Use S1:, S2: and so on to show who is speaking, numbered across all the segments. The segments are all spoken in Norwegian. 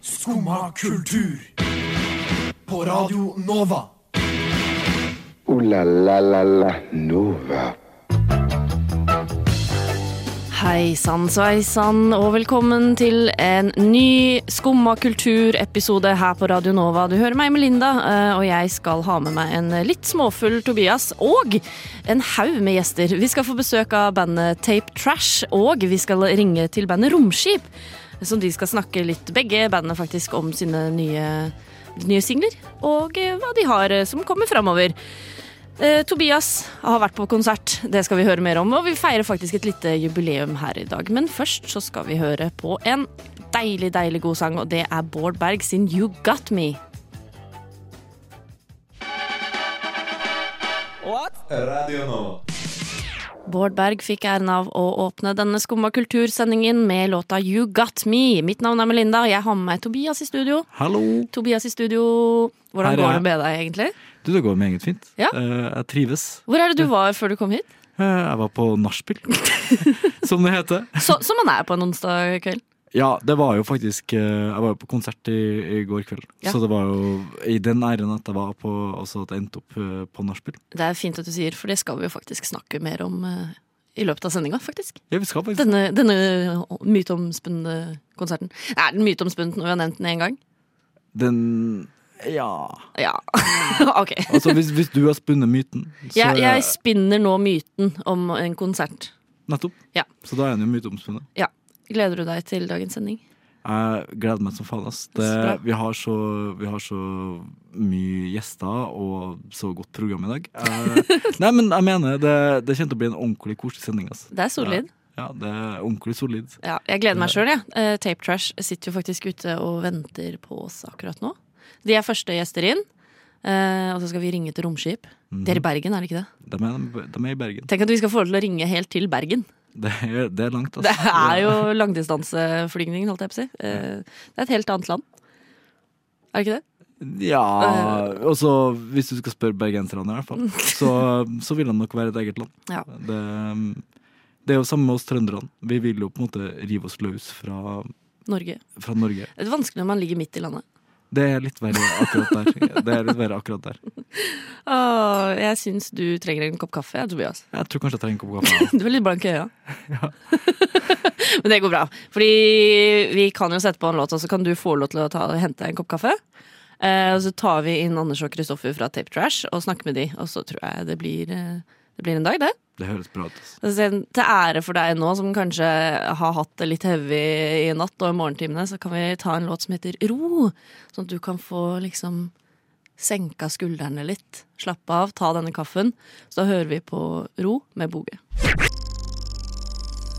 S1: Skumma kultur. På Radio Nova.
S2: Ooh la la la la Nova.
S3: Hei sann, sveisann, og velkommen til en ny Skumma kultur-episode her på Radio Nova. Du hører meg, Melinda, eh, og jeg skal ha med meg en litt småfull Tobias og en haug med gjester. Vi skal få besøk av bandet Tape Trash, og vi skal ringe til bandet Romskip. Som de skal snakke litt, begge bandene faktisk, om sine nye, nye singler, og eh, hva de har eh, som kommer framover. Eh, Tobias har vært på konsert, det skal vi høre mer om. Og vi feirer faktisk et lite jubileum her i dag. Men først så skal vi høre på en deilig, deilig god sang, og det er Bård Berg sin You Got Me.
S4: Radio Nova.
S3: Bård Berg fikk æren av å åpne denne skumma kultursendingen med låta You Got Me. Mitt navn er Melinda, og jeg har med meg Tobias i studio.
S5: Hallo!
S3: Tobias i studio, hvordan
S5: Her er
S3: går det
S5: jeg.
S3: med deg egentlig?
S5: Du, det går meget fint.
S3: Ja.
S5: Eh, jeg trives.
S3: Hvor er det du var før du kom hit?
S5: Eh, jeg var på nachspiel, som det heter.
S3: Så, som man er på en onsdag kveld.
S5: Ja, det var jo faktisk eh, Jeg var jo på konsert i, i går kveld.
S3: Ja.
S5: Så det var jo i den æren at jeg var på Altså at jeg endte opp eh, på nachspiel.
S3: Det er fint at du sier, for det skal vi jo faktisk snakke mer om eh, i løpet av sendinga, faktisk.
S5: Ja, vi skal faktisk
S3: Denne, denne myteomspunne konserten. Nei, den myteomspunne når vi har nevnt den én gang.
S5: Den Ja.
S3: Ja, ok.
S5: Altså, hvis, hvis du har spunnet myten, så eh,
S3: Jeg,
S5: er
S3: jeg spinner nå myten om en konsert.
S5: Nettopp.
S3: Ja.
S5: Så da er den jo myteomspunnet.
S3: Ja. Gleder du deg til dagens sending?
S5: Jeg gleder meg som faen. ass. Det,
S3: Så bra.
S5: vi, har så, vi har så mye gjester og så godt program i dag. Eh, nei, men jeg mener det, det kommer til å bli en ordentlig koselig sending. ass.
S3: Det er solid.
S5: Ja, ja, det er ordentlig solid.
S3: Ja, jeg gleder meg sjøl, jeg. Eh, Tape Trash sitter jo faktisk ute og venter på oss akkurat nå. De er første gjester inn. eh, og så skal vi ringe til Romskip. Dere i Bergen, er det ikke det?
S5: De er, de er i Bergen.
S3: Tenk at vi skal få lov til å ringe helt til Bergen.
S5: Det er, det er langt, ass.
S3: Det er jo langdistanseflygning, holdt jeg på å si. Eh, Det er et helt annet land. Er det ikke det?
S5: Ja Og så, hvis du skal spørre bergenserne, i hvert fall, så, så vil de nok være et eget land.
S3: Ja.
S5: Det, det er jo samme med oss trønderne. Vi vil jo på en måte rive oss løs fra,
S3: Norge.
S5: fra Norge.
S3: Det er vanskelig når man ligger midt i landet.
S5: Det er litt verre akkurat der. Det er litt verre akkurat der.
S3: Åh, jeg syns du trenger en kopp kaffe, jeg, Tobias.
S5: Jeg tror kanskje jeg trenger en kopp kaffe.
S3: Du er litt blank i øya. Men det går bra. Fordi vi kan jo sette på en låt, og så kan du få lov til å ta, hente deg en kopp kaffe. Eh, og så tar vi inn Anders og Kristoffer fra Tape Trash og snakker med de, og så tror jeg det blir, eh, det blir en dag, det.
S5: Det høres bra ut. ass.
S3: Altså, Til ære for deg nå, som kanskje har hatt det litt heavy i natt og i morgentimene, så kan vi ta en låt som heter Ro. Sånn at du kan få liksom senka skuldrene litt. Slappe av, ta denne kaffen. Så da hører vi på Ro med Boge.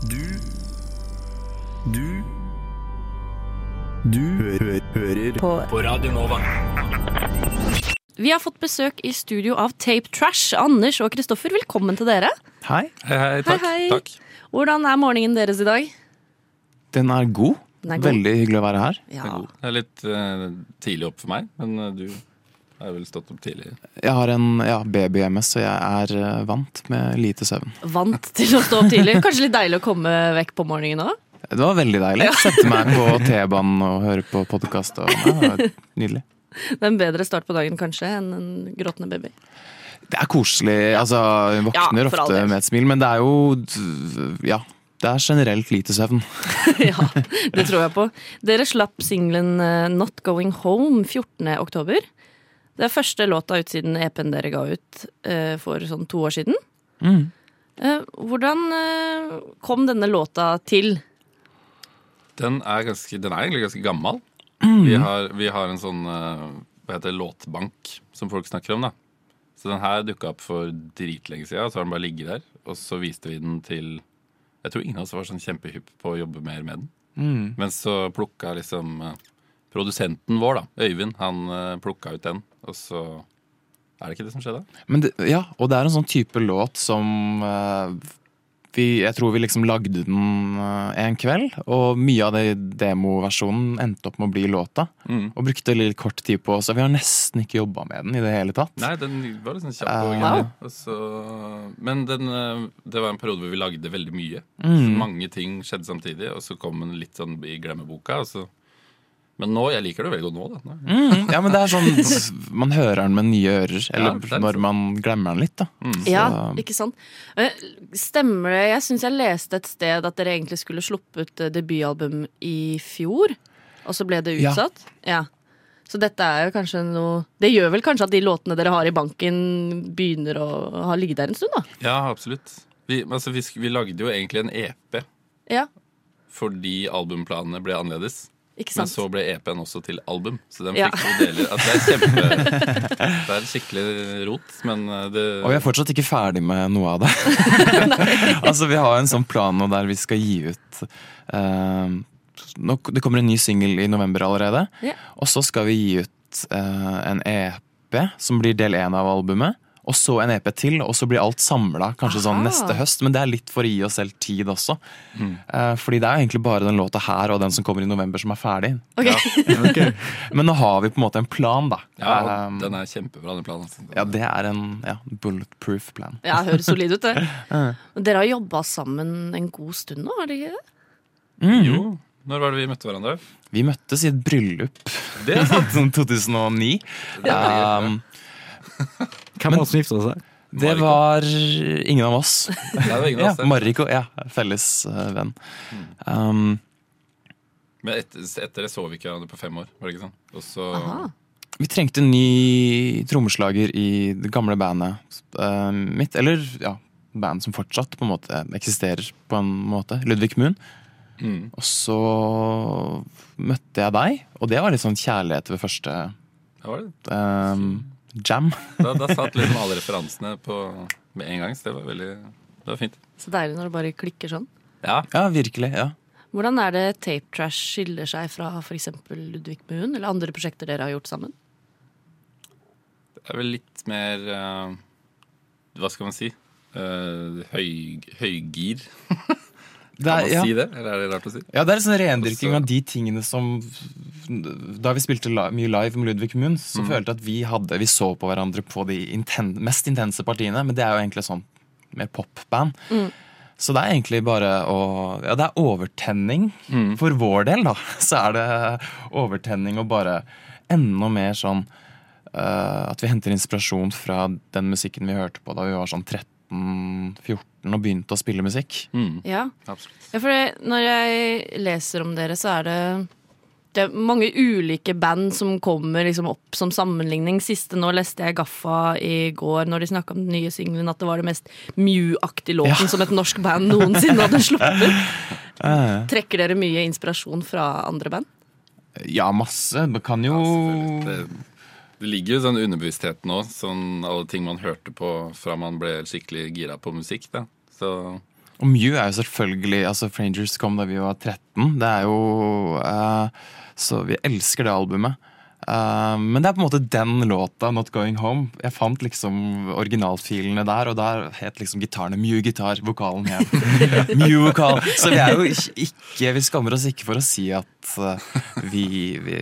S6: Du Du Du hø hø hører på. Radio Nova.
S3: Vi har fått besøk i studio av Tape Trash. Anders og Kristoffer, velkommen til dere.
S6: Hei.
S4: Hei, hei, takk.
S3: hei.
S4: takk.
S3: Hvordan er morgenen deres i dag?
S6: Den er god.
S3: Den er god.
S6: Veldig hyggelig å være her.
S4: Det er
S3: Ja.
S4: god. Det er litt eh, tidlig opp for meg, men eh, du har vel stått opp tidlig.
S6: Jeg har en ja, baby-MS, så jeg er eh, vant med lite søvn.
S3: Vant til å stå opp tidlig. Kanskje litt deilig å komme vekk på morgenen òg?
S6: Det var veldig deilig. Sette meg på T-banen og høre på podkast. Ja, nydelig.
S3: Det er en bedre start på dagen kanskje enn en gråtende baby.
S6: Det er koselig. Altså, jeg våkner
S3: Ja, for all
S6: ofte
S3: del.
S6: med et smil, men det er jo Ja. Det er generelt lite søvn.
S3: ja, det tror jeg på. Dere slapp singelen eh, Not Going Home 14. oktober. Det er første låta ut siden EP-en E dere ga ut eh, for sånn to år siden. Eh, hvordan eh, kom denne låta til?
S4: Den er, ganske, den er egentlig ganske gammel. Vi, har, vi har en sånn eh, hva heter det, låtbank som folk snakker om. da. Så den her dukka opp for dritlenge siden, og så har den bare ligget der. Og så viste vi den til Jeg tror ingen av oss var sånn kjempehypp på å jobbe mer med den. Men så plukka liksom eh, produsenten vår, da, Øyvind, han uh, plukka ut den. Og så er det ikke det som skjedde?
S6: Men det, ja, og det er en sånn type låt som eh, vi, Jeg tror vi liksom lagde den eh, en kveld, og mye av det demoversjonen endte opp med å bli låta.
S4: Mm.
S6: Og brukte litt kort tid på så vi har nesten ikke jobba med den i det hele tatt.
S4: Nei, den var liksom kjapp og
S6: Eh,
S4: gøy. Og så- Men den, eh, det var en periode hvor vi lagde veldig
S3: Mm.
S4: mye. Så mange ting skjedde samtidig, og så kom den litt sånn i glemmeboka. Og så. Men nå, jeg liker det veldig godt nå. Da. Nei.
S6: Mm, ja, men det er sånn Man hører den med nye ører,
S4: Ja, det
S6: eller
S4: er
S6: når man glemmer den litt, da.
S3: Ja,
S6: Så-
S3: ikke sant. Eh, Stemmer det Jeg syns jeg leste et sted at dere egentlig skulle sluppet eh, debutalbum i fjor, og så ble det
S6: Ja.
S3: utsatt? Ja. Så dette er jo kanskje noe Det gjør vel kanskje at de låtene dere har i banken, begynner å ha ligget der en stund, da?
S4: Ja, absolutt. Vi, altså, vi, sk- vi lagde jo egentlig en EP
S3: Ja,
S4: fordi albumplanene ble annerledes.
S3: ikke
S4: Men
S3: sant?
S4: så ble EP-en også til album, så den
S3: Ja.
S4: fikk to deler. Altså, det, er kjempe, det er skikkelig rot, men eh, det
S6: Og vi er fortsatt ikke ferdig med noe av det. altså Vi har en sånn plan nå der vi skal gi ut eh, nå, Det kommer en ny singel i november allerede.
S3: Ja.
S6: Og så skal vi gi ut eh, en EP som blir del én av albumet. Og så en EP til, og så blir alt samla kanskje sånn
S3: Aha.
S6: neste høst. Men det er litt for å gi oss selv tid også. Eh, fordi det er egentlig bare den låta her og den som kommer i november, som er ferdig.
S3: Ok.
S5: Ok.
S6: Men nå har vi på en måte en plan, da.
S4: ja,
S6: Eh,
S4: og den er kjempebra, den planen. altså.
S6: ja, det er en ja, bulletproof plan.
S3: Ja, høres solid ut, det. Men Dere har jobba sammen en god stund nå, har dere ikke det?
S4: Jo.
S6: Mm.
S4: Når var det vi møtte hverandre?
S6: Vi møttes i et bryllup
S4: Det er sant!
S6: sånn 2009. Um,
S5: Hvem var det som gifta seg?
S6: det var ingen av oss.
S4: Det er jo
S6: Ja,
S4: ingen av oss. der.
S6: Marrik og ja, felles eh, venn.
S4: Mm.
S6: Um,
S4: Men etter, etter det så vi ikke hverandre på fem år. var det ikke sånn? Og så
S3: Aha.
S6: vi trengte en ny trommeslager i det gamle bandet eh, mitt. Eller ja, band som fortsatt på en måte eksisterer på en måte. Ludvig Moon.
S4: Mm.
S6: Og så møtte jeg deg, og det var litt sånn kjærlighet ved første
S4: ja, var det.
S6: um, jam.
S4: Da, da satt liksom alle referansene på, med en gang, så det var veldig det var fint.
S3: Så deilig når det bare klikker sånn.
S4: Ja,
S6: Ja, virkelig. ja.
S3: Hvordan er det Tape Trash skiller seg fra f.eks. Ludvig Moon eller andre prosjekter dere har gjort sammen?
S4: det er vel litt mer eh, Hva skal man si? Eh, høy, høygir.
S6: Det er-
S4: Kan man
S6: ja.
S4: si det? Eller er det rart å si?
S6: Ja, det er en sånn rendyrking
S4: Også-
S6: av de tingene som Da vi spilte li mye live med Ludvig Munn, så følte jeg at vi hadde Vi så på hverandre på de inten mest intense partiene, men det er jo egentlig sånn mer popband. Så det er egentlig bare å Ja, det er overtenning. For vår del, da, så er det overtenning og bare enda mer sånn eh, At vi henter inspirasjon fra den musikken vi hørte på da vi var sånn 13-14 og begynte å spille musikk.
S3: Ja,
S4: Absolutt.
S3: ja for det, når jeg leser om dere, så er det det er mange ulike band som kommer liksom opp som sammenligning. Siste nå leste jeg Gaffa i går når de snakka om den nye singelen, at det var det mest Mew-aktige låten
S6: Ja.
S3: som et norsk band noensinne hadde sluppet. Trekker dere mye inspirasjon fra andre band?
S6: Ja, masse. Det kan jo
S4: Selvfølgelig. Det, det ligger jo sånn underbevissthet nå, sånn alle ting man hørte på fra man ble skikkelig gira på musikk. Da. Så
S6: Og Mew er jo selvfølgelig altså Frangers kom da vi var 13. Det er jo eh, Så vi elsker det albumet. Eh, men det er på en måte den låta, 'Not Going Home'. Jeg fant liksom originalfilene der, og der het liksom gitarene Mew-gitar. Vokalen het Mew-vokal. Så vi er jo ikke Vi skammer oss ikke for å si at eh, vi, vi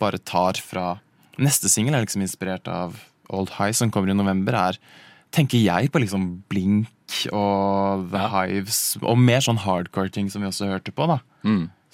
S6: bare tar fra Neste singel er liksom inspirert av Old High, som kommer i november, er tenker jeg på liksom Blink og The Hives. Og mer sånn hardcore ting som vi også hørte på. da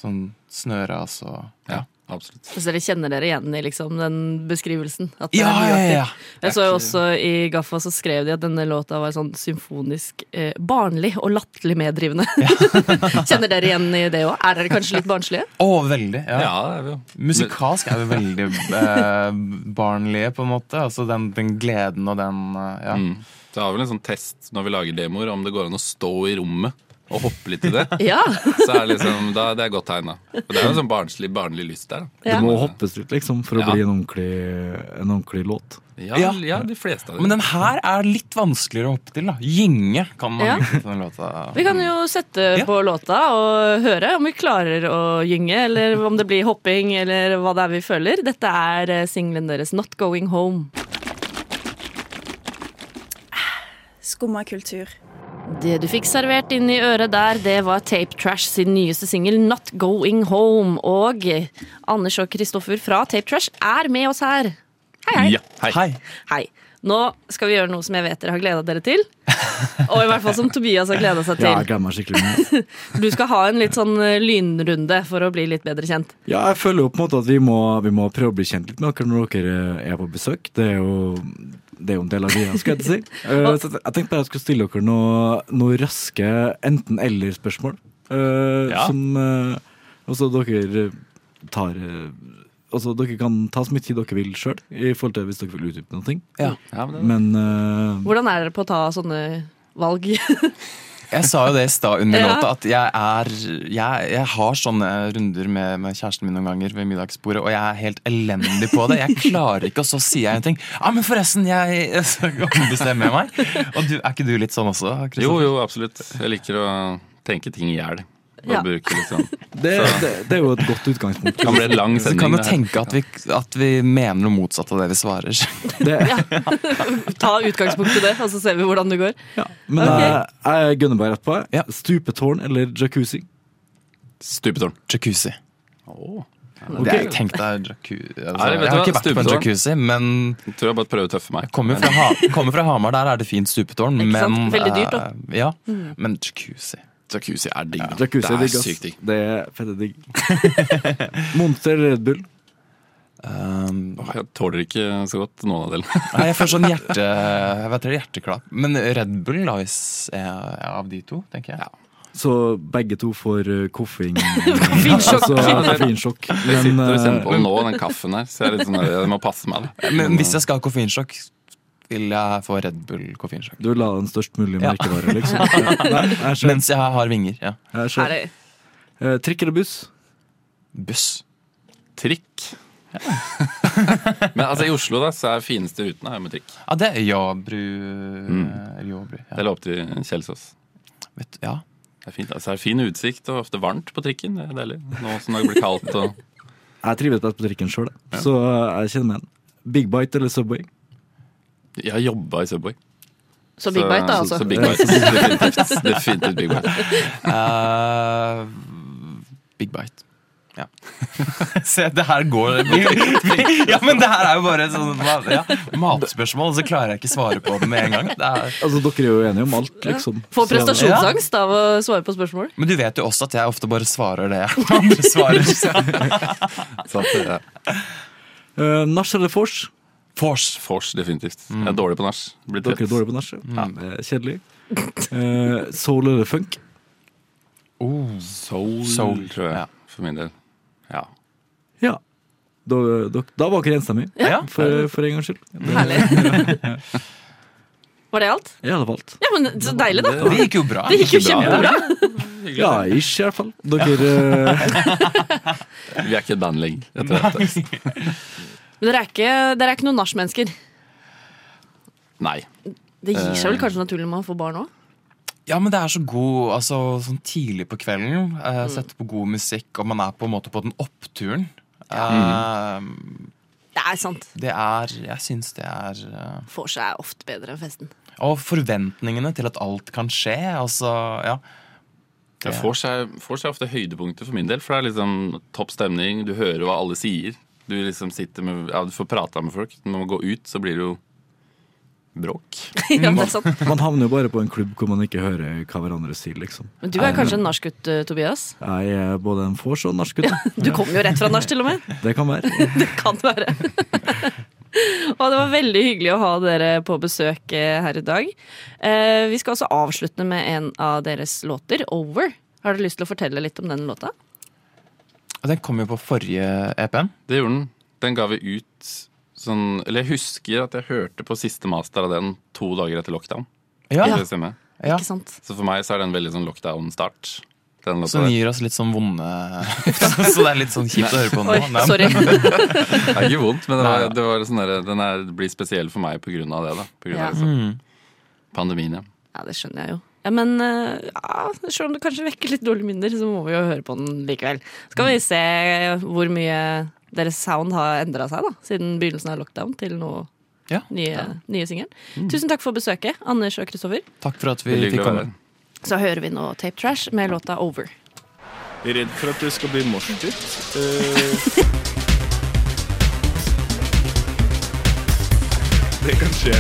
S6: Sånn Snøras og
S4: Mm. ja, absolutt.
S3: Så dere kjenner dere igjen i liksom, den beskrivelsen? At det
S6: Ja,
S3: er
S6: ja,
S3: mye
S6: ja!
S3: aktivt. Jeg så jo også i Gaffa så skrev de at denne låta var sånn symfonisk eh, barnlig og latterlig meddrivende. Kjenner dere igjen i det òg? Er dere kanskje litt barnslige?
S6: Å, veldig. Ja.
S4: Ja, det er vi jo.
S6: Musikalsk er vi veldig eh, barnlige, på en måte. Altså den, den gleden og den eh, ja.
S4: Så har vi vel en sånn test når vi lager demoer, om det går an å stå i rommet og hoppe litt i det.
S3: Ja.
S4: Så er det liksom, da, det er godt tegn, da. Og det er jo en sånn barnslig, barnlig lyst der. da.
S5: Det
S3: Ja.
S5: må hoppes ut, liksom, for å
S4: Ja.
S5: bli en ordentlig, en ordentlig låt.
S4: Ja,
S6: Ja.
S4: ja. de fleste av dem.
S6: Men den her er litt vanskeligere å hoppe til. da Gynge kan man
S3: Ja.
S6: gjøre til den låta.
S3: Vi kan jo sette
S6: Ja.
S3: på låta og høre om vi klarer å gynge, eller om det blir hopping, eller hva det er vi føler. Dette er eh, singelen deres 'Not Going Home'.
S7: Skumma kultur.
S3: Det du fikk servert inn i øret der, det var Tape Trash sin nyeste singel 'Not Going Home'. Og Anders og Kristoffer fra Tape Trash er med oss her.
S4: Ja, hei.
S6: Hei.
S3: Hei. Nå skal vi gjøre noe som jeg vet dere har gleda dere til. Og i hvert fall som Tobias har gleda seg
S5: Ja,
S3: til.
S5: jeg gleder meg skikkelig. nå.
S3: Du skal ha en litt sånn eh, lynrunde for å bli litt bedre kjent.
S5: Ja, jeg føler jo på en måte at vi må, vi må prøve å bli kjent litt med dere når dere er på besøk. Det er jo, det er jo en del av greia, skulle jeg til å si. Eh, så jeg tenkte bare jeg skulle stille dere noe, noe raske enten-eller-spørsmål. eh,
S4: Ja.
S5: Som eh, også dere tar eh, Altså, dere kan ta så mye tid dere vil sjøl, i forhold til hvis dere vil utdype noe.
S6: Ja.
S4: Ja, men det,
S5: Men eh,
S3: Hvordan er dere på å ta sånne valg?
S6: Jeg sa jo det i stad under
S3: Ja.
S6: låta, at jeg, er, jeg, jeg har sånne runder med, med kjæresten min noen ganger ved middagsbordet, og jeg er helt elendig på det. Jeg klarer ikke, og så sier jeg en ting. Ja, men forresten, jeg Så ombestemmer jeg meg. Og du, er ikke du litt sånn også? Kristoffer?
S4: jo, jo, absolutt. Jeg liker å tenke ting i hjel.
S3: Ja.
S4: Ja. Bruke litt sånn.
S5: det, det, det er jo et godt utgangspunkt.
S4: Det kan bli en lang
S6: Så kan
S4: sending.
S6: jo
S4: det her.
S6: tenke at vi, at vi mener noe motsatt av det vi svarer.
S5: Det,
S3: Ta utgangspunkt i det, og så ser vi hvordan det går.
S5: ja. Men eh,
S3: Ok.
S5: jeg, jeg gunner bare rett på. jeg.
S6: Ja.
S5: Stupetårn eller jacuzzi?
S4: Stupetårn.
S6: Jacuzzi.
S5: Ok.
S6: Det er, tenk deg jacuzzi. Altså,
S4: Nei, vet du
S6: jeg har ikke
S4: hva,
S6: vært på en
S4: stupetårn.
S6: jacuzzi, men
S4: Jeg tror jeg bare prøver å tøffe meg.
S6: kommer fra, ha kommer fra Hamar, der er det fint stupetårn.
S3: Ikke sant?
S6: Men,
S3: Veldig dyrt, da. Mm.
S6: eh, Ja, men jacuzzi.
S4: Jacuzzi er digg. da.
S5: Jacuzzi er
S4: det er
S5: digg, ass.
S4: sykt digg.
S5: Det er fette digg. Monster eller Red Bull?
S6: Um,
S4: Åh, Jeg tåler ikke så godt noen av delene.
S6: Nei, jeg får sånn hjerte, jeg vet ikke, hjerteklapp. Men Red Bull, da, hvis jeg er av de to, tenker jeg.
S5: Så begge to får eh, koffing.
S3: Finsjokk.
S5: Altså, koffeinsjokk.
S4: Jeg
S5: Men
S4: sitter og kjenner på
S5: eh,
S4: den nå, den kaffen her. Så jeg, er litt sånn, jeg må passe meg. da.
S6: Men eh, hvis jeg skal ha koffeinsjokk, vil jeg få Red Bull koffeinsjokk.
S5: du vil ha den størst mulige
S6: Ja.
S5: merkevare, liksom. Ja. Nei, jeg ser.
S6: Mens jeg har vinger. ja.
S5: Jeg
S3: Er
S5: ser.
S3: det
S5: Eh, Trikk eller buss?
S6: Buss.
S4: Trikk. Men altså, i Oslo da, så er fineste rutene her med trikk.
S6: Ja, det er Jåbru. eller Jåbru, Ja.
S4: Eller opp til Kjelsås.
S6: Mm. Vet du- ja.
S4: Det er fint, altså, det er fin utsikt og ofte varmt på trikken. Det er deilig. Nå som det blir kaldt og
S5: Jeg trives best på trikken sjøl, så eh, jeg kjenner meg igjen. Big Bite eller Subway?
S4: Jeg har jobba i Subway.
S3: Så big bite, da, altså.
S4: Så, så big bite. Definitivt, definitivt big bite.
S6: Eh, big Bite. Ja. Se, det her går Ja, men det her er jo bare et sånn ja, matspørsmål, så klarer jeg ikke svare på det med en gang. Det er
S5: Altså, dere er jo enige om alt, liksom.
S3: Får
S5: Så-
S3: prestasjonsangst av å svare på spørsmål.
S6: Men du vet jo også at jeg ofte bare svarer det jeg andre svarer.
S4: Så at, ja.
S5: Eh, Nach eller vors?
S4: Force. Force, definitivt. Jeg er dårlig på nach. Blir
S5: Dere er
S4: trett.
S5: dårlige på nach. Ja. det er Kjedelig. Eh, Soul eller funk?
S4: Soul,
S6: Soul,
S4: tror jeg.
S6: ja.
S4: For min del. Ja.
S5: Ja. Da, da, da var dere enstemmige,
S6: Ja.
S5: for, for en gangs skyld.
S3: Herlig. Var det alt?
S5: Ja, det var alt.
S3: Ja, men Så deilig, da.
S6: Det gikk jo bra.
S3: Det gikk jo
S4: Bra.
S3: kjempebra.
S5: Ja, ish, i hvert fall. Dere eh,
S4: Vi er ikke et band lenger. Etter dette.
S3: Men dere er ikke, dere er ikke noen nachmennesker.
S4: Nei.
S3: Det gir seg vel kanskje naturlig med å få barn òg?
S6: Ja, men det er så god altså, sånn tidlig på kvelden. Eh, Sette på god musikk, og man er på en måte på den oppturen. Eh,
S3: Det er sant.
S6: det er Jeg syns det er eh,
S3: Får seg er ofte bedre enn festen.
S6: Og forventningene til at alt kan skje. Altså, ja.
S4: Det får seg, får seg ofte høydepunkter for min del, for det er liksom topp stemning. Du hører hva alle sier. Du liksom sitter med Ja, du får prata med folk. Når man går ut, så blir det jo bråk.
S3: ja, det er sant.
S5: eh, Man havner jo bare på en klubb hvor man ikke hører hva hverandre sier, liksom.
S3: Men du er kanskje en nachgutt, eh, Tobias?
S5: Jeg er både en vors og en nachgutt.
S3: Du kom jo rett fra nach, til og med.
S5: Det kan være.
S3: Det kan være. Og det var veldig hyggelig å ha dere på besøk eh, her i dag. Eh, vi skal også avslutte med en av deres låter, 'Over'. Har dere lyst til å fortelle litt om den låta?
S6: Og den kom jo på forrige E EP-en.
S4: Det gjorde den. Den ga vi ut sånn Eller jeg husker at jeg hørte på siste master av den to dager etter lockdown.
S6: Ja,
S4: Skal det stemme?
S6: ja.
S3: Ikke sant?
S4: Så for meg så er det en veldig sånn lockdown-start. Den låta
S6: Som
S4: der.
S6: gir oss litt sånn vonde Så det er litt sånn kjipt å høre på nå.
S3: Oi,
S6: men-
S3: sorry.
S4: Det er ikke vondt, men det var,
S6: Nei.
S4: det var sånn der, den er, blir spesiell for meg pga. det. da På grunn
S3: Ja.
S4: av liksom,
S6: Mm.
S4: pandemien, ja.
S3: Ja, det skjønner jeg jo. Ja, men eh, ja, selv om det kanskje vekker litt dårlige minner, så må vi jo høre på den likevel. Skal vi se hvor mye deres sound har endra seg da, siden begynnelsen av lockdown til nå.
S6: Ja.
S3: Nye, nye singelen.
S8: Mm.
S3: Tusen takk for besøket, Anders og Kristoffer.
S6: Takk for at vi
S4: Veldig
S6: fikk
S4: hyggelig å være
S6: komme.
S4: her.
S3: Så hører vi nå Tape Trash med låta 'Over'.
S9: Redd for at det skal bli Eh. morsdytt. Det kan skje.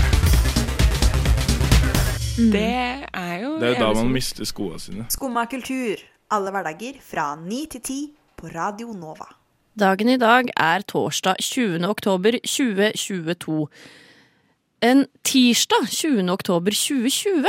S8: Det er jo
S9: Det er jo da
S8: jævlig
S9: man
S8: skummelt.
S9: mister skoene sine.
S10: Skumma kultur. Alle hverdager fra 9 til 10 på Radio Nova.
S3: Dagen i dag er torsdag 20. oktober 2022. En tirsdag 20. oktober 2020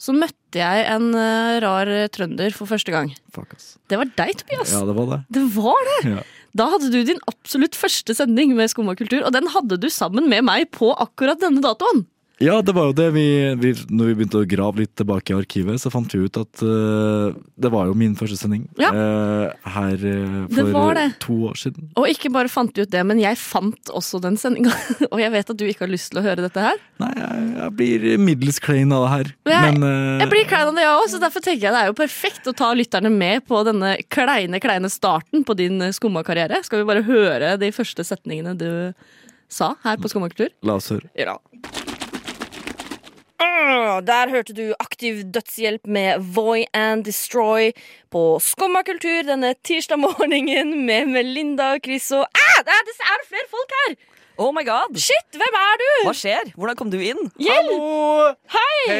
S3: så møtte jeg en eh, rar trønder for første gang.
S5: Fuck, ass.
S3: Det var deg, Tobias.
S5: Ja, det var det.
S3: Det var det!
S5: Ja.
S3: Da hadde du din absolutt første sending med Skumma kultur, og den hadde du sammen med meg på akkurat denne datoen.
S5: Ja, det var jo det. Vi, vi, når vi begynte å grave litt tilbake i arkivet, så fant vi ut at eh, det var jo min første sending
S3: Ja.
S5: eh, her eh, for
S3: var det.
S5: to år siden.
S3: Og ikke bare fant du ut det, men jeg fant også den sendinga. og jeg vet at du ikke har lyst til å høre dette her.
S5: Nei, jeg, jeg blir middels klein av det her.
S3: Nei,
S5: Men eh,
S3: Jeg blir klein av det, jeg òg, så derfor tenker jeg det er jo perfekt å ta lytterne med på denne kleine, kleine starten på din eh, skummakarriere. Skal vi bare høre de første setningene du sa her på Skummakultur?
S5: la oss høre.
S3: Ja. Ah, Der hørte du Aktiv dødshjelp med Voy and Destroy på Skummakultur denne tirsdag morgenen med Melinda og Chris og ah, det er, det er flere folk her!
S11: Oh my god!
S3: Shit, hvem er du?
S11: Hva skjer? Hvordan kom du inn?
S3: Hjelp!
S12: Hei,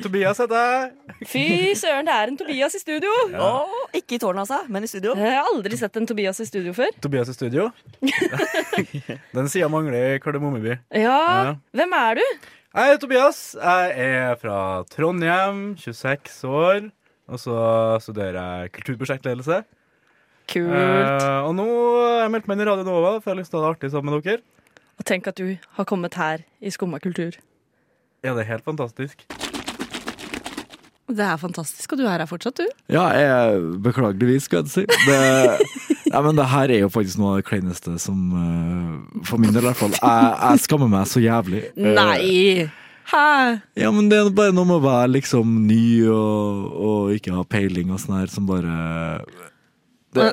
S12: Tobias heter jeg.
S3: Fy søren, det er en Tobias i studio.
S11: Åh, ikke i tårnet, altså, men i studio.
S3: Jeg har aldri sett en Tobias i studio før.
S12: Tobias i studio. Den sida mangler i Kardemommeby.
S3: Ja,
S12: Ja.
S3: Hvem er du?
S12: Jeg heter Tobias. Jeg er fra Trondheim, 26 år. Og så studerer jeg kulturprosjektledelse.
S3: Kult.
S12: Eh, og nå har jeg meldt meg inn i Radio Nova, for jeg har lyst til å ha det artig sammen med dere.
S3: Og tenk at du har kommet her i Skumma kultur.
S12: Ja, det er helt fantastisk.
S3: Det er fantastisk, og du er her fortsatt, du.
S5: Ja, jeg, beklageligvis, skal jeg si. Det, nei, men det her er jo faktisk noe av det kleineste som eh, For min del, i hvert fall. Jeg, jeg skammer meg så jævlig. Eh,
S3: Nei! Hæ?
S5: Ja, men det er bare noe med å være liksom ny og, og ikke ha peiling og sånn her, som bare det,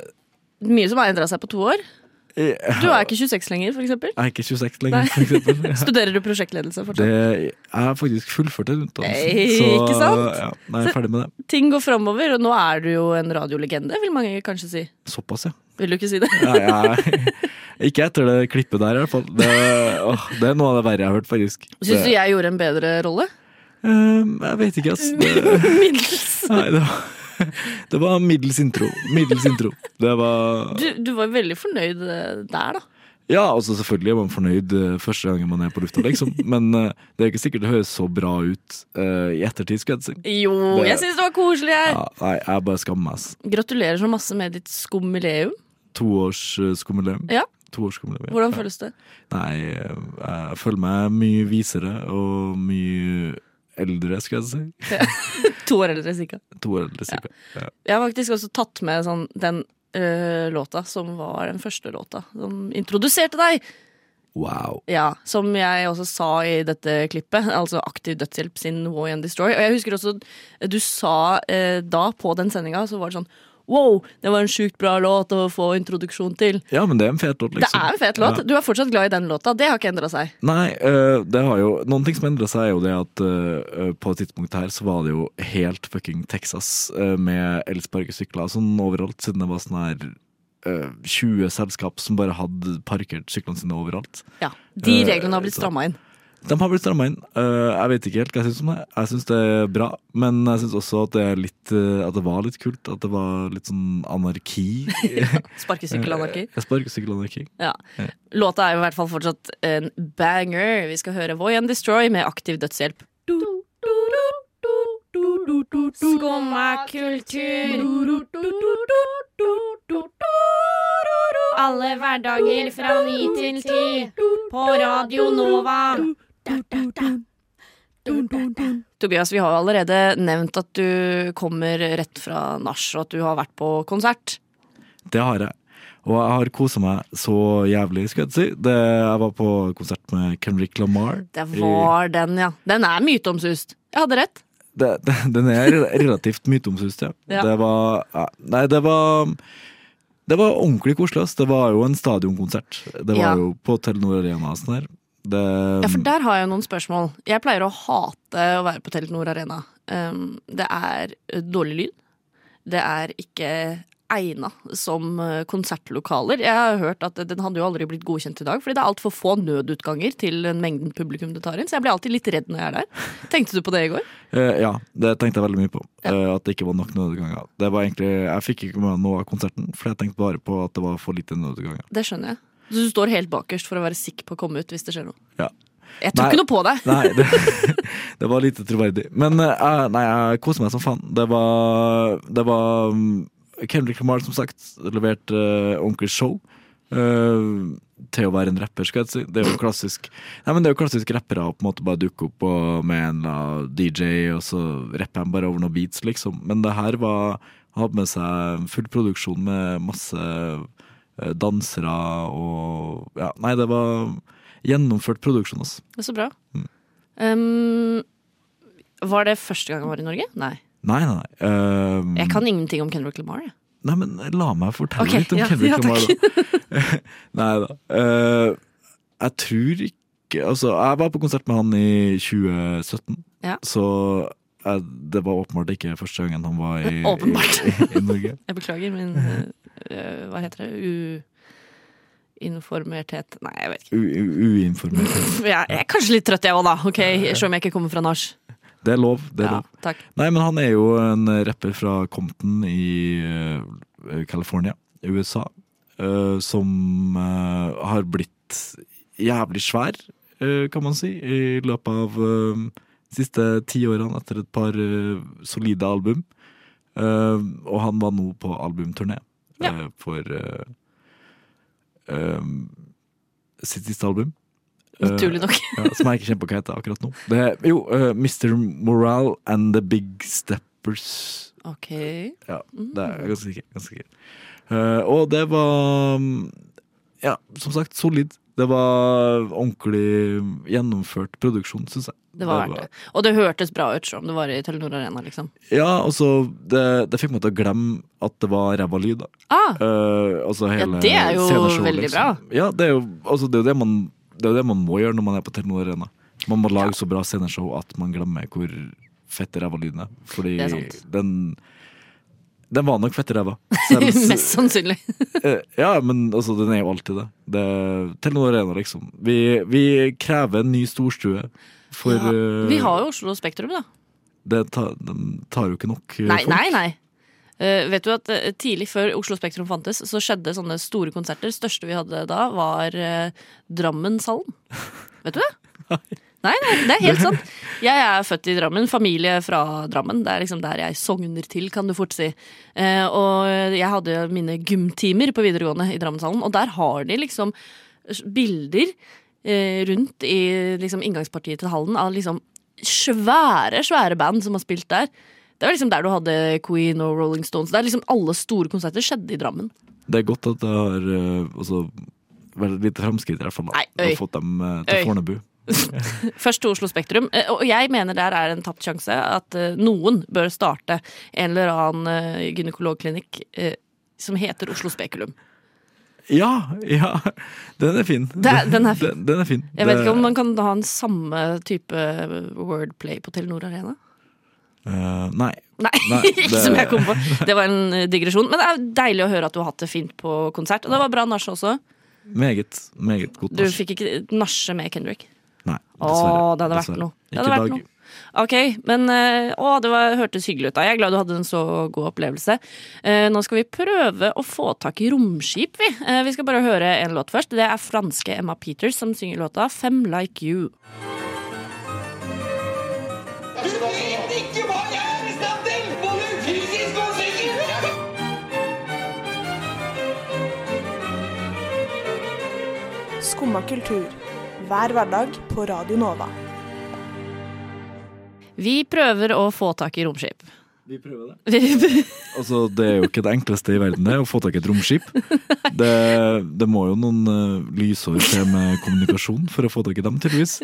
S3: Mye som har endra seg på to år.
S5: eh, jeg,
S3: Du er ikke 26 lenger, for eksempel.
S5: jeg er ikke 26
S3: Nei.
S5: lenger, for eksempel.
S3: Studerer du prosjektledelse
S5: Det,
S3: fortsatt?
S5: jeg har faktisk fullført en utdannelse.
S3: Nei, ikke sant?
S5: Ja, nei, jeg er ferdig med det.
S3: Ting går framover, og nå er du jo en radiolegende, vil mange kanskje si.
S5: Såpass, ja.
S3: Vil du ikke si det?
S5: Nei, jeg, ikke etter det klippet der, i hvert fall. Det, åh, det er noe av det verre jeg har hørt, faktisk.
S3: Syns du
S5: Det-
S3: jeg gjorde en bedre rolle?
S5: Ehm, jeg vet ikke, ass. Det,
S3: Middels.
S5: nei, det, var, det var middels intro. Middels intro. Det var
S3: Du, du var veldig fornøyd eh, der, da.
S5: Ja, altså selvfølgelig er man fornøyd eh, første gangen man er på lufta, liksom. Men eh, det er ikke sikkert det høres så bra ut eh, i ettertid, skal jeg si.
S3: Jo,
S5: Det-
S3: jeg syns det var koselig, jeg.
S5: Ja, nei, jeg bare skammer meg. ass.
S3: Gratulerer så masse med ditt skummileum.
S5: eh, Toårsskumulum.
S3: Ja.
S5: Toårsskumulum.
S3: Hvordan føles det?
S5: Nei, eh, jeg føler meg mye visere og mye eldre, skal jeg si.
S3: To år eldre, cirka.
S5: To år eldre, cirka.
S3: Jeg har faktisk også tatt med sånn, den øh, låta som var den første låta som introduserte deg.
S5: Wow.
S3: Ja, Som jeg også sa i dette klippet, altså Aktiv dødshjelp sin Way and Destroy. Og jeg husker også du sa øh, da på den sendinga, så var det sånn Wow, det var en sjukt bra låt å få introduksjon til.
S5: Ja, men det er en fet låt, liksom.
S3: Det er en fet låt.
S5: Ja.
S3: Du er fortsatt glad i den låta. Det har ikke endra seg.
S5: Nei, eh, det har jo Noen ting som endra seg, er jo det at eh, på et tidspunkt her så var det jo helt fucking Texas eh, med elsparkesykler og sånn overalt, siden det var sånn her eh, 20 selskap som bare hadde parkert syklene sine overalt.
S3: Ja, De
S5: Eh,
S3: reglene har blitt
S5: så-
S3: stramma inn.
S5: De har blitt stramma inn. Eh, jeg vet ikke helt hva jeg syns om det. Jeg syns det er bra, men jeg syns også at det, er litt, eh, at det var litt kult. At det var litt sånn anarki.
S3: Sparkesykkelanarki.
S5: Eh, Sparkesykkelanarki.
S3: Ja. Låta er jo i hvert fall fortsatt en banger. Vi skal høre Voy and Destroy med aktiv dødshjelp. Skumma kultur.
S8: Alle hverdager fra ni til ti på Radio Nova.
S3: Tobias, vi har jo allerede nevnt at du kommer rett fra nach, og at du har vært på konsert.
S5: Det har jeg. Og jeg har kosa meg så jævlig, skal jeg si. Det, jeg var på konsert med Kendrick Lamar.
S3: Det var den, ja. Den er myteomsust. Jeg hadde rett.
S5: det, det, Den er rel- relativt myteomsust, ja.
S3: Ja.
S5: Det var ja, Nei, det var Det var ordentlig koselig. ass. Det var jo en stadionkonsert. Det var
S3: Ja.
S5: jo på Telenor Arena og sånn her. Det,
S3: Ja,
S5: Um,
S3: for der har jeg noen spørsmål. Jeg pleier å hate å være eh, på Telenor Arena. Um, det er ø, dårlig lyd. Det er ikke egna som eh, konsertlokaler. Jeg har hørt at Den hadde jo aldri blitt godkjent i dag, fordi det er altfor få nødutganger til den mengden publikum det tar inn. Så jeg blir alltid litt redd når jeg er der. Tenkte du på det i går?
S5: Eh, ja, det tenkte jeg veldig mye på. eh, at det ikke var nok nødutganger. Det var egentlig, jeg fikk ikke med meg noe av konserten, for jeg tenkte bare på at det var for lite nødutganger.
S3: Det skjønner jeg. Så du står helt bakerst for å være sikker på å komme ut hvis det skjer noe.
S5: Ja.
S3: Jeg tror
S5: Nei.
S3: ikke noe på deg.
S5: Nei, det, det var lite troverdig. Men eh, jeg- nei, jeg koser meg som faen. Det var, det var mm, Kendrick Lamar, som sagt, leverte eh, ordentlig show. eh, til å være en rapper, skal jeg si. Det er jo klassisk Nei, men det er jo klassisk rappere å på en måte bare dukke opp og med en eller annen DJ, og så rapper han bare over noen beats, liksom. Men det her var Han hadde med seg full produksjon med masse eh, dansere og Ja, nei, det var gjennomført produksjon, altså.
S3: Det er så bra. Um, var det første gang han var i Norge? Nei.
S5: Nei, nei, nei. Ehm,
S3: Jeg kan ingenting om Kendrick Lamar. jeg.
S5: Nei, men la meg fortelle
S3: Ok,
S5: litt om
S3: ja,
S5: Kendrick
S3: ja,
S5: Lamar,
S3: takk.
S5: da. nei da. Eh, jeg tror ikke Altså, jeg var på konsert med han i 2017,
S3: Ja.
S5: så jeg, det var åpenbart ikke første gangen han var i,
S3: Åpenbart.
S5: i, i Norge.
S3: Jeg beklager, min eh, eh, Hva heter det? Uinformerthet Nei, jeg vet ikke.
S5: U, u, uinformert.
S3: Jeg er kanskje litt trøtt, jeg òg, da. Ok, Selv om jeg ikke kommer fra nach.
S5: Det er lov. Det er
S3: Ja,
S5: lov.
S3: takk.
S5: Nei, men han er jo en rapper fra Compton i eh, California, USA, eh, som eh, har blitt jævlig svær, eh, kan man si, i løpet av eh, de siste ti årene etter et par eh, solide album. Eh, og han var nå på albumturné eh,
S13: Ja.
S5: for eh, eh, sitt siste album.
S3: Naturlig
S5: Eh,
S3: nok.
S5: ja, som jeg ikke kjenner på hva heter akkurat nå. Det er, jo, eh, Mr. Morale and The Big Steppers.
S3: Ok.
S5: Ja, det er jeg ganske sikker. Ganske sikker. Eh, og det var mm, Ja, som sagt, solid. Det var ordentlig gjennomført produksjon, syns jeg.
S3: Det var verdt det. Og det hørtes bra ut som om det var i Telenor Arena, liksom.
S5: Ja, og så det, det fikk meg til å glemme at det var ræva lyd, da.
S3: Ah.
S5: Eh, altså hele
S3: det er jo
S5: sceneshowet,
S3: veldig bra.
S5: Ja, det er jo, altså, det, er jo det, man, det er jo det man må gjøre når man er på Telenor Arena. Man må lage så bra sceneshow at man glemmer hvor fett ræva lyden er. Fordi
S3: Det er sant.
S5: den Den var nok fett ræva. Selv-
S3: Mest sannsynlig.
S5: Eh, ja, men altså, den er jo alltid det. det er Telenor Arena, liksom. Vi, vi krever en ny storstue for eh,
S3: Vi har jo Oslo Spektrum, da.
S5: det tar, Den tar jo ikke nok eh,
S3: Nei,
S5: folk.
S3: nei, nei. Eh, vet du at eh, Tidlig før Oslo Spektrum fantes, så skjedde sånne store konserter. største vi hadde da, var eh, Drammen Salm. Vet du det? Nei, nei, det er helt sant. Jeg er født i Drammen, familie fra Drammen. Det er liksom der jeg sogner til, kan du fort si. Eh, og jeg hadde mine gymtimer på videregående i Drammenshallen, og der har de liksom bilder eh, rundt i liksom inngangspartiet til hallen av liksom svære, svære band som har spilt der. Det var liksom der du hadde Queen og Rolling Stones. Det er liksom Alle store konserter skjedde i Drammen.
S5: Det er godt at det har eh, altså, vært et lite framskritt, i hvert fall. Da.
S3: Nei,
S5: Du har
S3: øy.
S5: fått dem eh, til
S3: Øy.
S5: Fornebu.
S3: Først til Oslo Spektrum. eh, Og jeg mener der er en tapt sjanse at eh, noen bør starte en eller annen eh, gynekologklinikk eh, som heter Oslo Spekulum.
S5: Ja, ja! Den er fin.
S3: Det- den er fin.
S5: Den, den er fin.
S3: Jeg vet
S5: Det-
S3: ikke om man kan ha en samme type eh, wordplay på Telenor Arena.
S5: eh, Nei.
S3: Nei, ikke som jeg kom på. Det var en eh, digresjon. Men det er deilig å høre at du har hatt det fint på konsert. Og det var bra nach også.
S5: Meget, meget godt.
S3: Du
S5: nach.
S3: fikk ikke nasje med Kendrick.
S5: Nei,
S3: Å,
S5: dessverre.
S3: det hadde vært
S5: Dessverre.
S3: noe. Det
S5: Ikke
S3: hadde
S5: i
S3: vært
S5: dag.
S3: noe. Ok, men eh, å, det var, hørtes hyggelig ut. da. Jeg er glad du hadde en så god opplevelse. Eh, nå skal vi prøve å få tak i romskip, vi. Eh, vi skal bare høre en låt først. Det er franske Emma Peters som synger låta 'Fem Like You'.
S13: Du vet ikke hva jeg er i stand til! Både fysisk og psykisk!
S10: Skumma kultur. Hver hverdag på Radio Nova.
S3: Vi prøver å få tak i romskip.
S5: Vi prøver
S3: det.
S5: Altså, det er jo ikke det enkleste i verden, det, å få tak i et romskip. Det, det må jo noen eh, lysår til med kommunikasjon for å få tak i dem, tydeligvis.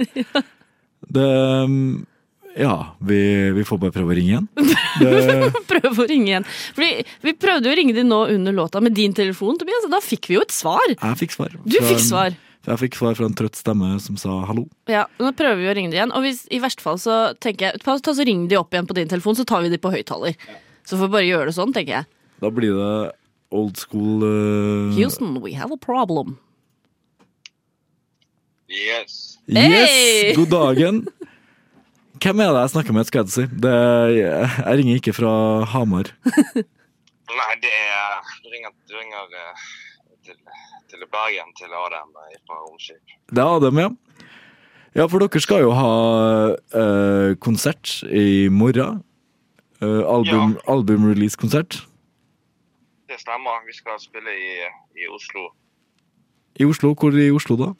S5: Det mm, Ja, vi, vi får bare prøve å ringe igjen. Det,
S3: Prøv å ringe igjen. Fordi Vi prøvde jo å ringe dem nå under låta med din telefon, Tobias, og da fikk vi jo et svar.
S5: jeg fikk svar.
S3: Du
S5: fra
S3: fikk
S5: en-
S3: svar.
S5: Jeg fikk svar fra en trøtt stemme som sa hallo.
S3: Ja, Nå prøver vi å ringe dem igjen, og hvis, i verste fall så tenker jeg ta, ta så Ring de opp igjen på din telefon, så tar vi de på høyttaler. Så får vi bare gjøre det sånn, tenker jeg.
S5: Da blir det old school eh,
S3: Houston, we have a problem.
S14: Yes.
S3: Hey!
S5: Yes, god dagen! Hvem er det jeg snakker med, skal jeg si? Det er, jeg ringer ikke fra Hamar.
S14: Nei, det er Du ringer, du ringer eh, til, til Bergen, til Adam eh, fra Romskip.
S5: Det er Adam, ja. Ja, for dere skal jo ha eh, konsert i morgen. Eh, album, Albumrelease-konsert
S14: Det stemmer. Vi skal spille i, eh, i Oslo
S5: i Oslo. Hvor i Oslo, da?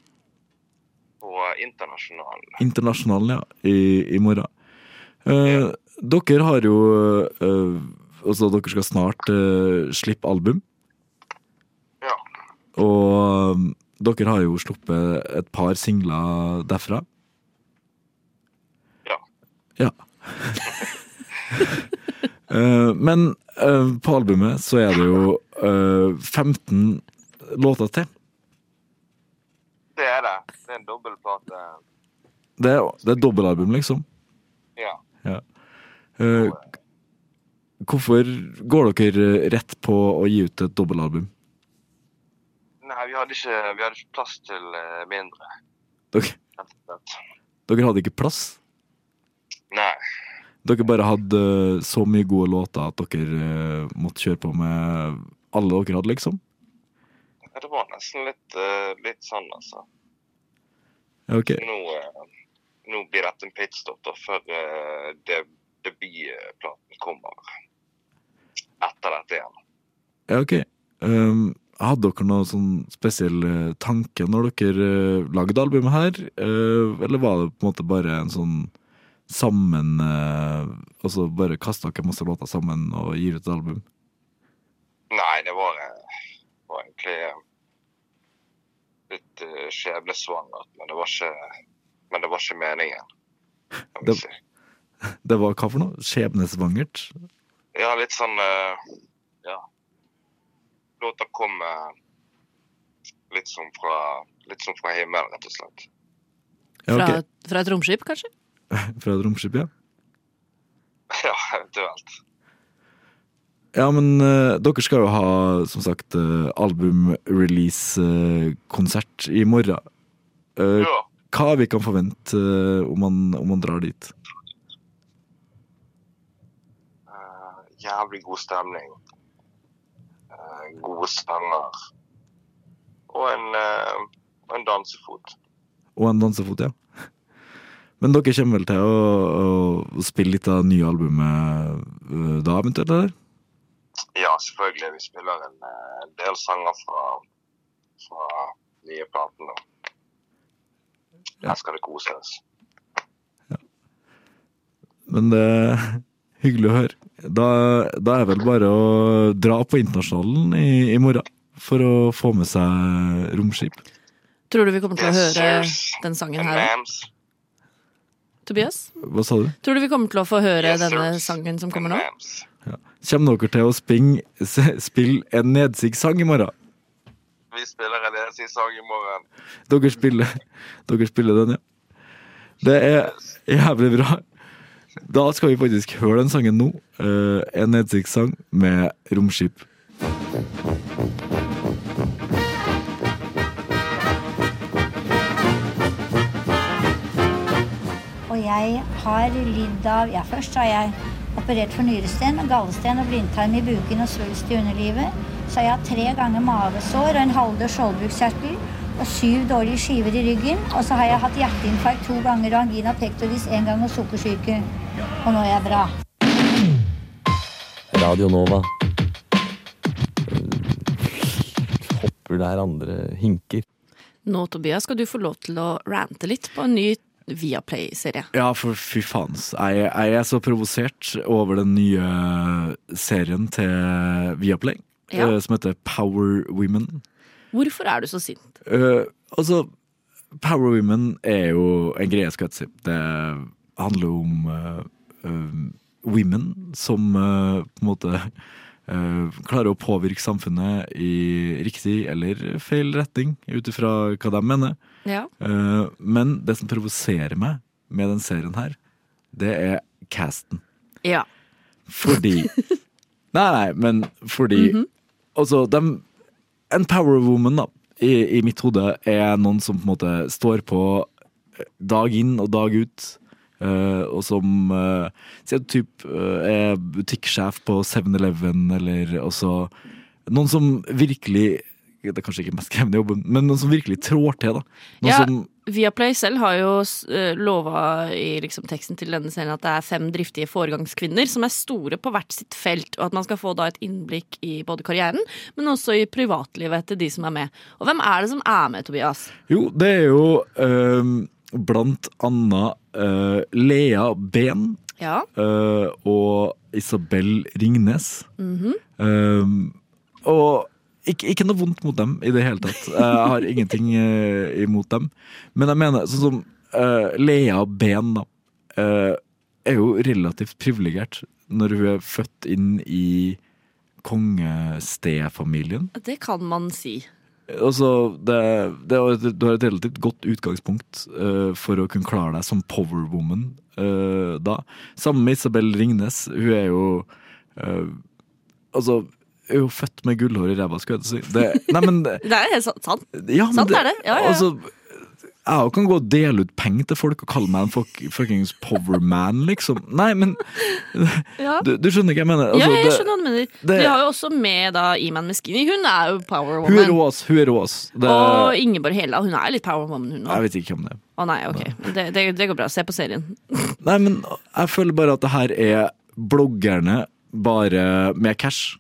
S14: på Internasjonalen.
S5: Internasjonalen, ja. I, i morgen. Eh, Dere har jo eh, Altså, dere skal snart eh, slippe album.
S14: Ja.
S5: Og eh, dere har jo sluppet et par singler derfra. Ja. Eh, men eh, på albumet så er det jo eh, 15 låter til.
S14: Det er det. Det er en dobbeltplate.
S5: Det er, det er dobbeltalbum, liksom.
S14: Ja.
S5: Ja. Eh, hvorfor går dere rett på å gi ut et dobbeltalbum?
S14: Nei, vi hadde ikke, vi hadde ikke plass til eh, mindre.
S5: Dere,
S14: rett og slett.
S5: dere hadde ikke plass?
S14: Nei.
S5: Dere bare hadde så mye gode låter at dere eh, måtte kjøre på med alle dere hadde, liksom?
S14: Det var nesten litt, eh, litt sånn, altså.
S5: Ja, ok.
S14: Nå, eh, nå blir dette en pitstop da, før eh, det- debutplaten kommer. Etter dette igjen.
S5: Ja, ok. Um, hadde dere noen sånn spesiell eh, tanke når dere eh, lagde albumet her? Eh, eller var det på en måte bare en sånn sammen eh, Altså bare kasta dere masse låter sammen og gir ut et album?
S14: Nei, det var, eh, var egentlig eh, litt eh, skjebnesvangert, men det var ikke, men det var ikke meningen.
S5: Det, det var hva for noe? Skjebnesvangert?
S14: Ja, litt sånn eh, Ja. Låta kom eh, litt som fra, litt som fra himmelen, rett og slett.
S5: Ja,
S3: Fra,
S5: ok.
S3: fra et romskip, kanskje?
S5: Fra et romskip, ja?
S14: ja, eventuelt.
S5: Ja, men eh, dere skal jo ha, som sagt, uh, album-release-konsert i morgen. Eh, Hva vi kan forvente eh, om, man, om man drar dit?
S14: Eh, jævlig god stemning. Eh, gode sanger. Og en, eh, og en dansefot.
S5: Og en dansefot, ja. Men dere kommer vel til å, å spille litt av det nye albumet eh, da, eventuelt? eller?
S14: Ja, selvfølgelig. Vi spiller en eh, del sanger fra, fra nye platen. da. Her skal det koses.
S5: Men det er hyggelig å høre. Da, da er det vel bare å dra på Internasjonalen i, i morgen for å få med seg romskip.
S3: Tror du vi kommer til å
S5: Yes,
S3: høre den sangen her òg? Tobias?
S5: Hva sa du?
S3: Tror du vi kommer til å få høre
S5: Yes,
S3: denne sangen som kommer nå?
S5: Kommer dere til å sping- s- spille en nedsigsang i morgen?
S14: Vi spiller en LSI-sang i morgen.
S5: Dere spiller, dere spiller den, ja. Det er jævlig bra. Da skal vi faktisk høre den sangen nå. Eh, en nedsiktssang med romskip.
S15: Og jeg har lidd av Ja, først har jeg operert for nyresten, gallesten og blindtarm i buken og svulst i underlivet. Så har jeg hatt tre ganger mavesår og en halvdød skjoldbruskkjertel og syv dårlige skiver i ryggen. Og så har jeg hatt hjerteinfarkt to ganger og angina pectoris én gang og sukkersyke. Og nå er jeg bra.
S16: Radio Nova. Eh, Hopper der andre hinker.
S3: Nå, Tobias, skal du få lov til å rante litt på en ny Viaplay-serie.
S5: Ja, for fy faen. ass. Jeg, jeg er så provosert over den nye serien til Viaplay,
S3: Ja.
S5: eh, som heter Power Women.
S3: Hvorfor er du så sint?
S5: Eh, altså, Power Women er jo en greie, skal jeg si. Det handler jo om eh, eh, women som eh, på en måte eh, klarer å påvirke samfunnet i riktig eller feil retning, ut ifra hva de mener.
S3: Ja.
S5: Eh, men det som provoserer meg med den serien her, det er casten.
S3: Ja.
S5: Fordi Nei, nei, men fordi Altså, dem- en power woman, da, i, i mitt hode, er noen som på en måte står på eh, dag inn og dag ut. eh, og som uh, sier typ eh, er butikksjef på 7-Eleven, eller også Noen som virkelig Det er kanskje ikke mest krevende jobben, men noen som virkelig trår til, da. Noen
S3: Ja,
S5: som
S3: Viaplay selv har jo eh, lova i liksom teksten til denne serien at det er fem driftige foregangskvinner som er store på hvert sitt felt, og at man skal få da et innblikk i både karrieren, men også i privatlivet til de som er med. Og hvem er det som er med, Tobias?
S5: Jo, det er jo ehm, blant annet eh, Lea Ben
S3: Ja.
S5: eh, og Isabel Ringnes.
S3: Mhm.
S5: Ehm, og ikke, ikke noe vondt mot dem i det hele tatt. Jeg har ingenting eh, imot dem. Men jeg mener, sånn som eh, Lea Ben da, eh, er jo relativt privilegert når hun er født inn i kongestefamilien.
S3: Det kan man si.
S5: Altså, det, det, er jo et- du har et relativt godt utgangspunkt eh, for å kunne klare deg som powerwoman uh, da. Sammen med Isabel Ringnes. Hun er jo eh, Altså, hun er jo født med gullhår i ræva, skulle jeg til å si. Det, nei, men det,
S3: Det er helt sant. sant.
S5: ja, men
S3: sant Sånn er det. Ja, ja, ja.
S5: Altså, jeg også kan gå og dele ut penger til folk og kalle meg en fuck, fuckings powerman, liksom. Nei, men
S3: Ja.
S5: du, du skjønner ikke hva jeg mener.
S3: ja,
S5: Altså,
S3: jeg
S5: det-
S3: skjønner hva du mener.
S5: det-
S3: Vi har jo også med da Iman Meskini. Hun er jo power
S5: Hun er
S3: woman.
S5: rå, ass. Hun er rå, ass. Det,
S3: Og Ingeborg Hella, hun er litt power woman, hun
S5: jeg
S3: òg.
S5: vet ikke hvem det er.
S3: Å nei, ok. Det, det, det går bra. Se på serien.
S5: Nei, men jeg føler bare at det her er bloggerne bare med cash.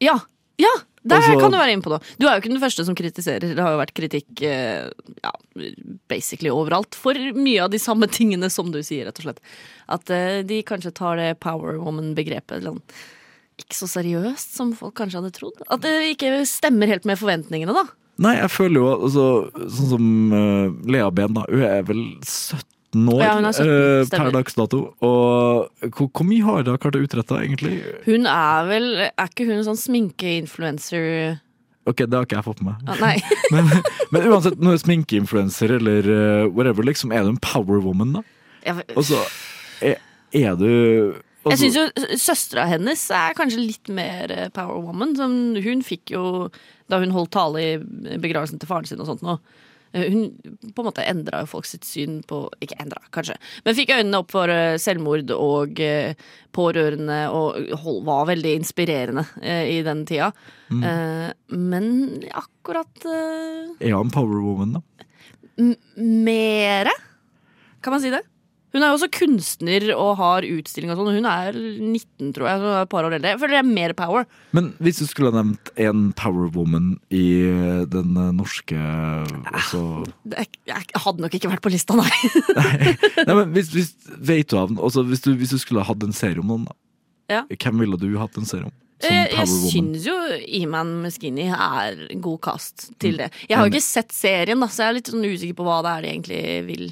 S3: Ja! ja der
S5: Altså-
S3: kan du være inne på noe. Du er jo ikke den første som kritiserer. Det har jo vært kritikk eh, ja, basically overalt for mye av de samme tingene som du sier, rett og slett. At eh, de kanskje tar det power woman-begrepet litt ikke så seriøst som folk kanskje hadde trodd. At det ikke stemmer helt med forventningene, da.
S5: Nei, jeg føler jo altså, Sånn som eh, Lea Ben, da. Hun er vel 17 år
S3: Ja, hun er 17,
S5: eh,
S3: stemmer.
S5: per dags dato. Og hvor, hvor mye har hun klart å utrette, egentlig?
S3: Hun er vel Er ikke hun sånn sminkeinfluencer
S5: Ok, det har ikke jeg fått med meg.
S3: ah, Nei.
S5: Men uansett, når hun er sminkeinfluenser eller eh, whatever, liksom, er du en powerwoman, da?
S3: Jeg,
S5: Og så er, er du
S3: jeg
S5: altså-
S3: syns jo søstera hennes er kanskje litt mer eh, power woman. Som hun fikk jo da hun holdt tale i begravelsen til faren sin og sånt nå. eh, Hun på en måte endra jo folk sitt syn på Ikke endra, kanskje, men fikk øynene opp for eh, selvmord og eh, pårørende og hold, var veldig inspirerende eh, i den tida.
S5: Mm.
S3: Eh, Men akkurat eh,
S5: Er hun en powerwoman, da?
S3: M- mere, kan man si det? Hun er jo også kunstner og har utstilling og sånn. og Hun er 19, tror jeg. så Hun er et par år eldre. Jeg føler det er mer power.
S5: Men hvis du skulle ha nevnt en powerwoman i eh, den eh, norske altså,
S3: Det er, jeg hadde nok ikke vært på lista, nei.
S5: Nei, men hvis, hvis, vet du av den, altså, hvis, du, hvis du skulle ha hatt en serie om noen, da,
S3: Ja.
S5: hvem ville du hatt en serie om? Som
S3: Eh, Jeg
S5: powerwoman?
S3: syns jo Iman Muskini er en god kast til det. Jeg har jo ikke sett serien, da, så jeg er litt sånn usikker på hva det er de egentlig vil.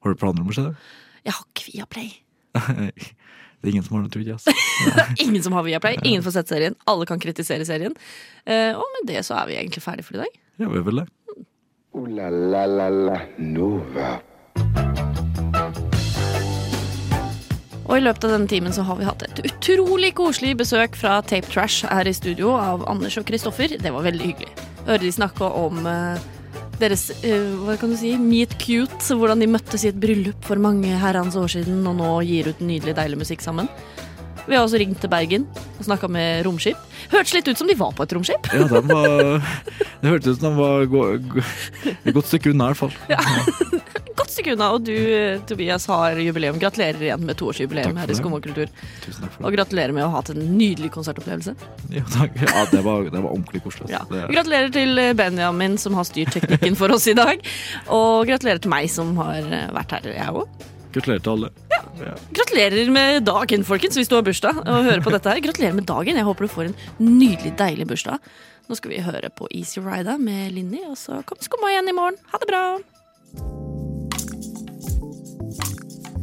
S5: Har du planer om å se det?
S3: Jeg har ikke Viaplay.
S5: det er ingen som har det, tror jeg. Altså.
S3: Ingen som har Viaplay. Ingen får sett serien. Alle kan kritisere serien. Eh, Og med det så er vi egentlig ferdig for i dag.
S5: Ja, vi er vel det.
S2: Ooh la la la la Nova.
S3: Og i løpet av denne timen så har vi hatt et utrolig koselig besøk fra Tape Trash her i studio av Anders og Kristoffer. Det var veldig hyggelig. Hørte de snakke om eh, deres eh, hva kan du si, meet cute, hvordan de møttes i et bryllup for mange herrens år siden og nå gir ut nydelig, deilig musikk sammen. Vi har også ringt til Bergen og snakka med romskip. Hørtes litt ut som de var på et romskip.
S5: Ja, den var, det hørtes ut som den var gå, gå, et godt stykke unna, i hvert fall.
S3: Godt stykke unna. Og du, eh, Tobias, har jubileum. Gratulerer igjen med toårsjubileum
S5: Takk for
S3: her i
S5: det.
S3: Skummakultur.
S5: Tusen takk for det.
S3: Og gratulerer med å ha hatt en nydelig konsertopplevelse.
S5: Ja, takk. ja det, var, det var ordentlig koselig. altså.
S3: Og
S5: Det,
S3: Gratulerer til eh, Benjamin som har styrt teknikken for oss i dag. Og gratulerer til meg som har eh, vært her, jeg òg.
S5: gratulerer til alle. Ja.
S3: Gratulerer med dagen, folkens, hvis du har bursdag og hører på dette her. Gratulerer med dagen. Jeg håper du får en nydelig, deilig bursdag. Nå skal vi høre på Easy Rida med Linni, og så kom skumma igjen i morgen. Ha det bra!